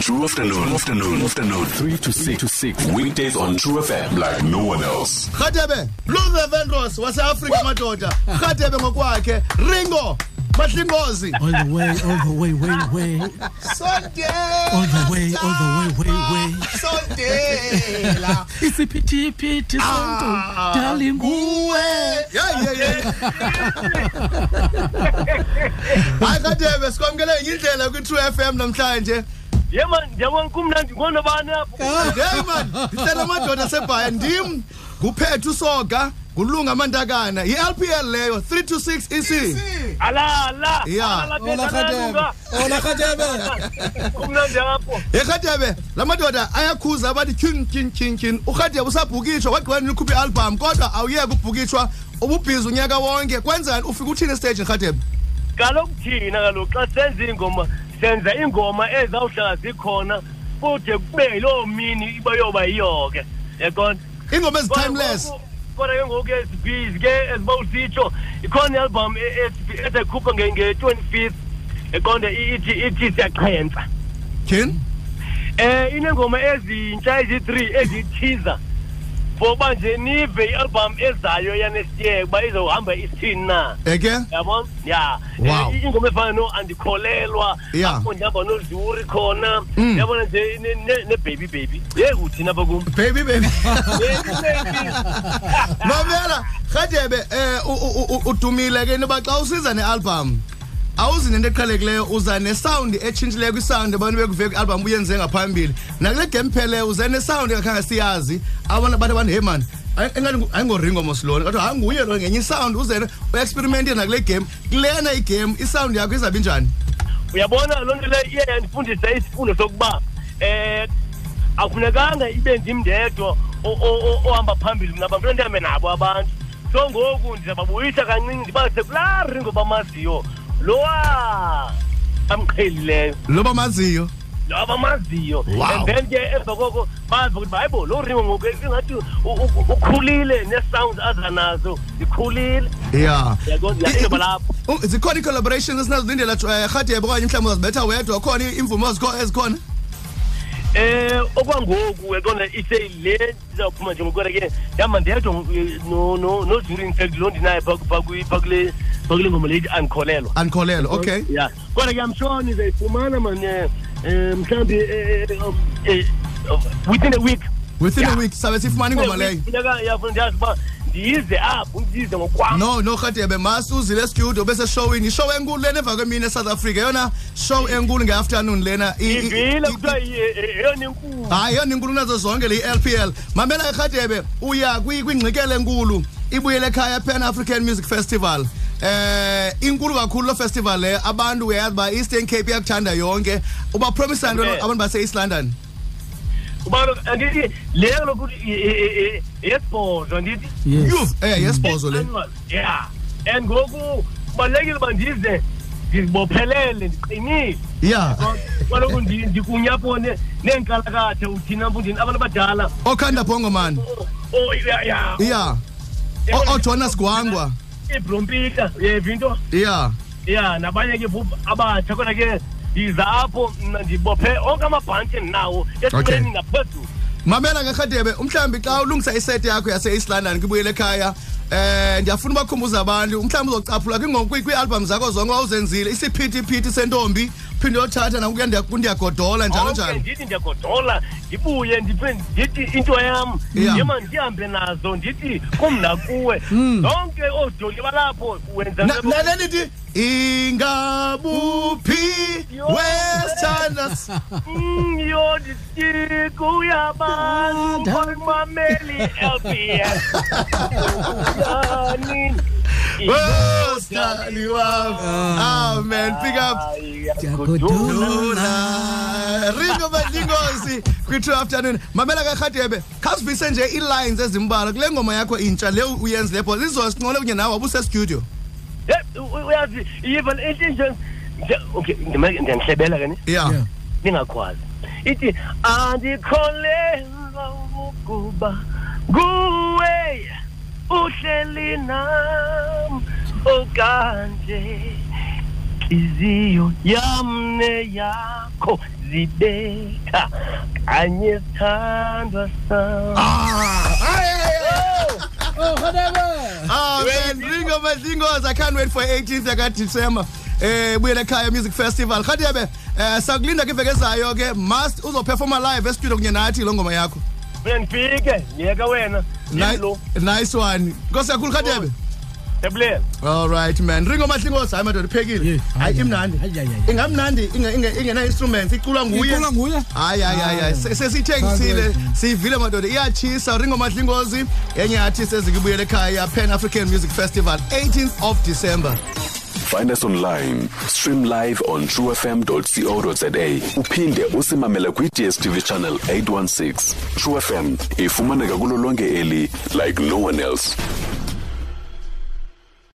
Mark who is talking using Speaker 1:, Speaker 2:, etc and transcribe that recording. Speaker 1: True afternoon. Afternoon. Afternoon. Three to six to six. Weekdays on True FM like no one else.
Speaker 2: rhatebe luve venros waseafrika madoda rhatebe ngokwakhe ringo bahlingozi
Speaker 3: all the way, all the way, way, way, all the way, all the way, way, way.
Speaker 2: sondela
Speaker 3: Isiphithiphithi sonto,
Speaker 2: Ah,
Speaker 3: dali nguwe.
Speaker 2: hayi rhatebe sikwamkele ngenye indlela kwi-true f m namhlanje
Speaker 4: yema njengoba kumnandi ngona bani apho
Speaker 2: hey man ndihlele amadoda asebhaya ndim nguphethe usoga ngulunga amantakana yi-lpl leyo 326 ec
Speaker 4: ala ala
Speaker 2: Ya.
Speaker 4: ala, ala rhatebe kumnandi apho
Speaker 2: erhatebe la madoda ayakhuza abathi tyhin tyhin tyhin tyhin urhatebe usabhukitshwa wagqiba nini ukhupha i-albhamu kodwa awuyeka ukubhukitshwa ububhizi unyaka wonke kwenzani ufike uthini esiteji rhatebe
Speaker 4: kaloku thina kaloku xa senza iingoma senza iingoma ezawuhlala zikhona kude kube yiloo mini iba yoba yiyo ke yakona
Speaker 2: iingoma ezi-timeless
Speaker 4: kodwa ke ngoku ezibhizi ke eziba usitsho ikhona ialbum ezayikhupha nge-twenty fifth eqonde ithi ithi siyaqhentsa
Speaker 2: tyhin
Speaker 4: Eh inengoma ezintsha eziyi-3 ezithiza ngoba nje nive i-album ezayo yanesiyeke uba izohamba isithini na
Speaker 2: eke
Speaker 4: yabona ya
Speaker 2: Wow.
Speaker 4: Eh, ingoma efana no-andikholelwa
Speaker 2: Yeah.
Speaker 4: apho ndihamba nozuri khona
Speaker 2: Mm.
Speaker 4: yabona nje ne- ne- ne-baby baby ye uthini apha kum
Speaker 2: baby baby
Speaker 4: baby baby
Speaker 2: mamela rhatebe um u- u- u- udumile ke noba xa usiza ne-albhamu awuzi nento eqhelekileyo uza nesawundi etshintshileyo kwisawundi abantu bekuve kwi-albhamu uyenze ngaphambili nakule game pheleyo uze nesawundi engakhange siyazi abantu abantu abantu hey mani ay- engathi ngu- ayingoringo mosilona kodwa hayi nguye lo ngenye isawundi uzene uexperimente nakule game kulena igame isawundi yakho izabe njani
Speaker 4: uyabona loo nto leyo iye yandifundisa isifundo sokuba um afunekanga ibe ndimndedwa o- o- o- ohamba phambili mna bantu ndihambe nabo abantu so ngoku ndizababuyisa kancinci ndibase kulaa ringo bamaziyo lowa amqhelileyo
Speaker 2: loba maziyo
Speaker 4: lo abamaziyo
Speaker 2: Wow.
Speaker 4: and then ke emva koko bazi ukuthi hayi bo loo ringo ngoku ingathi u- u- ukhulile nee-sounds aza nazo zikhulile
Speaker 2: ya
Speaker 4: Yabo- yabo lapho.
Speaker 2: Um, zikhona ii-collaborations esinazo lindela rhatebe okanye mhlawumbi uzazibetha wedwa khona iimvumo ezikho- ezikhona
Speaker 4: Eh okwangoku ekona ithe le ndizawuphuma nje ngokwena ke ndihamba ndedwa no no no jury in fact lo ndinaye pha pha kwi- pha kule pha kule ngoma lethi andikholelwa.
Speaker 2: andikholelwa okay
Speaker 4: Yeah. Kodwa ke I'm sure nizayifumana man eh eh, mhlambi eh, eh, um, eh, within a week.
Speaker 2: within a
Speaker 4: Yeah.
Speaker 2: week sabe sifumana ingoma
Speaker 4: Within a
Speaker 2: leyo
Speaker 4: week, Funeka yafuna ndiyazi uba ndize apho ndize ngokwam.
Speaker 2: no no rhatebe mas uzile studio bese showini ishow enkulu lena emva kwemini esouth africa yona show enkulu ngeafternoon lena I- i-
Speaker 4: Ivile
Speaker 2: i-
Speaker 4: kuthiwa iye- e- eyona inkulu.
Speaker 2: hayi yona inkulu nazo zonke le i-lpl mamela irhatebe uya kwi- kwingxikela enkulu ibuyele ekhaya pan african music festival eh inkulu kakhulu lo festival leyo abantu uyayazi uba i-eastern cape iyakuthanda yonke ubapromisa nto
Speaker 4: Yeah.
Speaker 2: abantu base-east london
Speaker 4: Kuba kaloku andithi le kaloku i- i- i- i- yesibhozo andithi.
Speaker 3: Yes.
Speaker 2: Yhu, eh yesibhozo le
Speaker 4: Annual, yeah and ngoku kubalulekile uba ndize "Bon, ndizibophelele ndiqinile
Speaker 2: ya
Speaker 4: Bon, kaloku ndi- ndikunyapho ne- neenkalakathe uthina mfundini abantu abadala
Speaker 2: okhanda bhongomani
Speaker 4: oh, E yeah, yeah.
Speaker 2: ya O- ojonas gwangwa
Speaker 4: ibrompita yeva into
Speaker 2: ya
Speaker 4: E, ya nabanye ke phofu abatsha kodwa ke ndiza apho mna ndibophe onke amabhantshi endinawo
Speaker 2: Okay.
Speaker 4: esileni ngaphezulu
Speaker 2: mamela ngerhadebe umhlawumbi xa ulungisa iset yakho yase-east london kwibuyele ekhaya um ndiyafuna ubakhumbuza abantu mhlawumbi uzocaphula kwingoma- kwi- kwiialbham zakho zonke wawuzenzile isiphithiphithi sentombi phinde yothatha nakuya ndiya- kundiyagodola njalo
Speaker 4: Onke
Speaker 2: njalo
Speaker 4: ndithi ndiyagodola ndibuye ndiphinde ndithi into yam
Speaker 2: Yeah.
Speaker 4: yema ndihambe nazo ndithi kumna kuwe zonke oodoli balapho wenza
Speaker 2: Hmm. Na-
Speaker 4: ntoni?
Speaker 2: nale nithi ingabuphi westanas
Speaker 4: Mm, yo ndithi kuyabantu
Speaker 2: Ah,
Speaker 4: kwamameli LBS Unjani?
Speaker 2: westani wam amen pick up
Speaker 4: Ndiyagodola.
Speaker 2: Lula. Ringo Badlingosi kwi-two afternoon mamela karhatebe khasivise nje ii-lines ezimbalwa kule ngoma yakho intsha le uyenzileyo bhola lizosinqole kunye nawe wabusestudio
Speaker 4: Eh, u- uyazi iyiva le nto inje nje- okay ndima- ndiyandihlebela kani
Speaker 2: ya
Speaker 3: Yeah.
Speaker 4: ningakhwazi ithi andikholelwa ukuba kuwe uhleli nam okanje iziyo yam neyakho uzibetha kanye sithandwa sam
Speaker 2: Oh man, Ringo Mazingos, I can't wait for 18th kaDisemba. Eh buyele ekhaya Music Festival. Khadebe, eh sakulinda ke iveke ezayo ke must uzoperforma live e-studio kunye nathi lo ngoma yakho.
Speaker 4: mina ndifike ngiyeka wena
Speaker 2: Ni-
Speaker 4: lo
Speaker 2: Nice one. Nkosi kakhulu Khadebe.
Speaker 4: ebulela
Speaker 2: All right man. Ringo Mazingos, hayi madoda
Speaker 3: Yeah,
Speaker 2: iphekile.
Speaker 3: hayi,
Speaker 2: Hayi imnandi.
Speaker 3: hayi, hayi, hayi.
Speaker 2: Ingamnandi inge- inge- ingena instruments, iculwa nguye.
Speaker 3: Iculwa nguye?
Speaker 2: Hayi hayi hayi, hayi. Se- Sesithengisile, siyivile madoda. Iyachisa Ringo Madlingozi, enye artist ezikubuyele ekhaya Pan African Music Festival 18th of December.
Speaker 1: Find us online, stream live on truefm.co.za. Uphinde usimamela kwi DSTV channel 816. True FM ifumaneka kulo lonke eli like no one else.